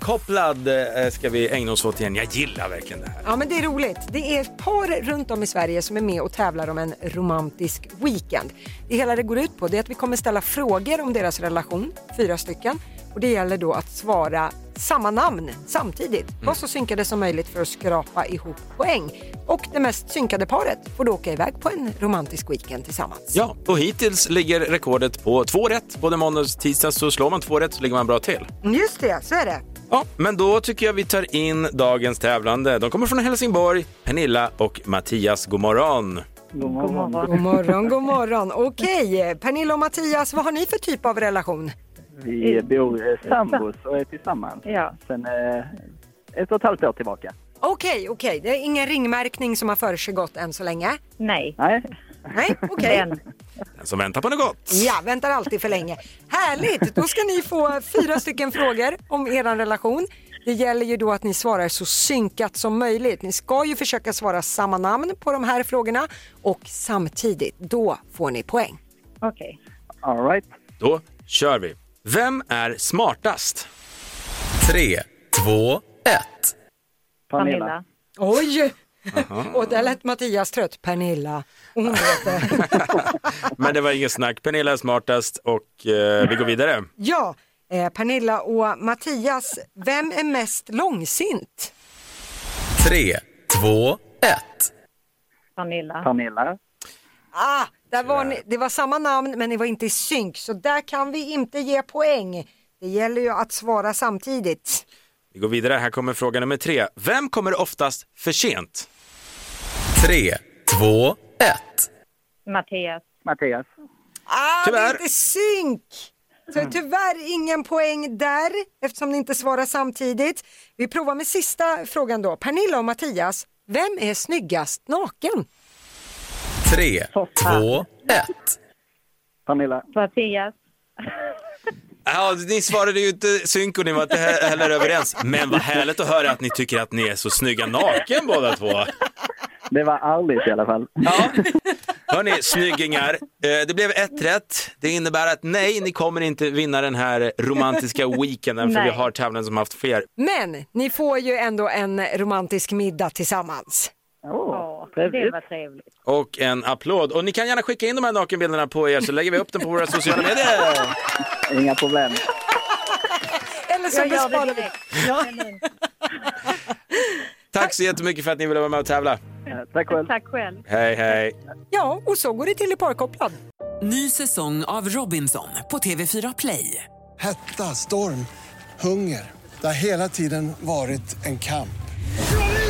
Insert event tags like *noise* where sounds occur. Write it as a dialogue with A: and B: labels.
A: Parkopplad eh, ska vi ägna oss åt igen. Jag gillar verkligen det här.
B: Ja, men det är roligt. Det är par runt om i Sverige som är med och tävlar om en romantisk weekend. Det hela det går ut på det är att vi kommer ställa frågor om deras relation, fyra stycken. Och det gäller då att svara samma namn samtidigt. Var så synkade som möjligt för att skrapa ihop poäng. Och det mest synkade paret får då åka iväg på en romantisk weekend tillsammans.
A: Ja, och hittills ligger rekordet på två rätt. Både måndag och tisdag så slår man två rätt så ligger man bra till.
B: Mm, Just det, så är det.
A: Ja, men då tycker jag vi tar in dagens tävlande. De kommer från Helsingborg, Pernilla och Mattias. God morgon!
B: God morgon, god morgon. Okej, Pernilla och Mattias, vad har ni för typ av relation?
C: Vi bor eh, sambos och är tillsammans
D: Mm. Ja.
C: sen eh, ett och ett halvt år tillbaka.
B: Okej, okej, det är ingen ringmärkning som har försiggått än så länge.
D: Nej.
C: Nej,
B: *laughs* Nej, okej.
D: Den.
A: Den som väntar på något gott.
B: Ja, väntar alltid för länge. Härligt! Då ska ni få fyra stycken frågor om er relation. Det gäller ju då att ni svarar så synkat som möjligt. Ni ska ju försöka svara samma namn på de här frågorna och samtidigt, då får ni poäng.
D: Okej.
C: all right.
A: Då kör vi. Vem är smartast?
E: 3, 2, 1.
C: Pernilla.
D: Pernilla.
B: Oj! *laughs* Och där lät Mattias trött. Pernilla, *laughs* hon vet det.
A: Men det var inget snack. Pernilla är smartast och eh, vi går vidare.
B: Ja, eh, Pernilla och Mattias, vem är mest långsint?
E: 3, 2, 1.
D: Pernilla.
C: Pernilla.
B: Ah, där var ni, det var samma namn men ni var inte i synk så där kan vi inte ge poäng. Det gäller ju att svara samtidigt.
A: Vi går vidare. Här kommer fråga nummer tre. Vem kommer oftast för sent?
E: 3, 2, 1.
D: Mattias.
C: Mattias.
B: Ah, det
A: Tyvärr.
B: är inte synk! Så tyvärr ingen poäng där eftersom ni inte svarar samtidigt. Vi provar med sista frågan då. Pernilla och Mattias, vem är snyggast naken?
E: 3, 2, 1.
C: Pernilla.
D: Mattias.
A: Ja, ni svarade ju inte synk och ni var inte he- heller överens. Men vad härligt att höra att ni tycker att ni är så snygga naken båda två.
C: Det var ärligt i alla fall.
A: Ja. Hörni, snyggingar. Eh, Det blev ett rätt. Det innebär att nej, ni kommer inte vinna den här romantiska weekenden för
D: Nej.
A: vi har tävlande som haft fler.
B: Men ni får ju ändå en romantisk middag tillsammans.
C: Åh,
D: Ja, det
C: trevligt.
D: var trevligt.
A: Och en applåd. Och ni kan gärna skicka in de här nakenbilderna på er så lägger vi upp dem på våra sociala medier.
C: Inga
D: *laughs*
C: problem.
B: Eller så
D: Jag gör
B: besparar
D: det
B: vi
D: direkt. Kanon.
A: Tack så jättemycket för att ni ville vara med och tävla.
C: Eh, Tack själv.
D: Tack själv.
A: Hej, hej.
B: Ja, och så går det till i parkopplad.
F: Ny säsong av Robinson på TV4 Play.
G: Hetta, storm, hunger. Det har hela tiden varit en kamp.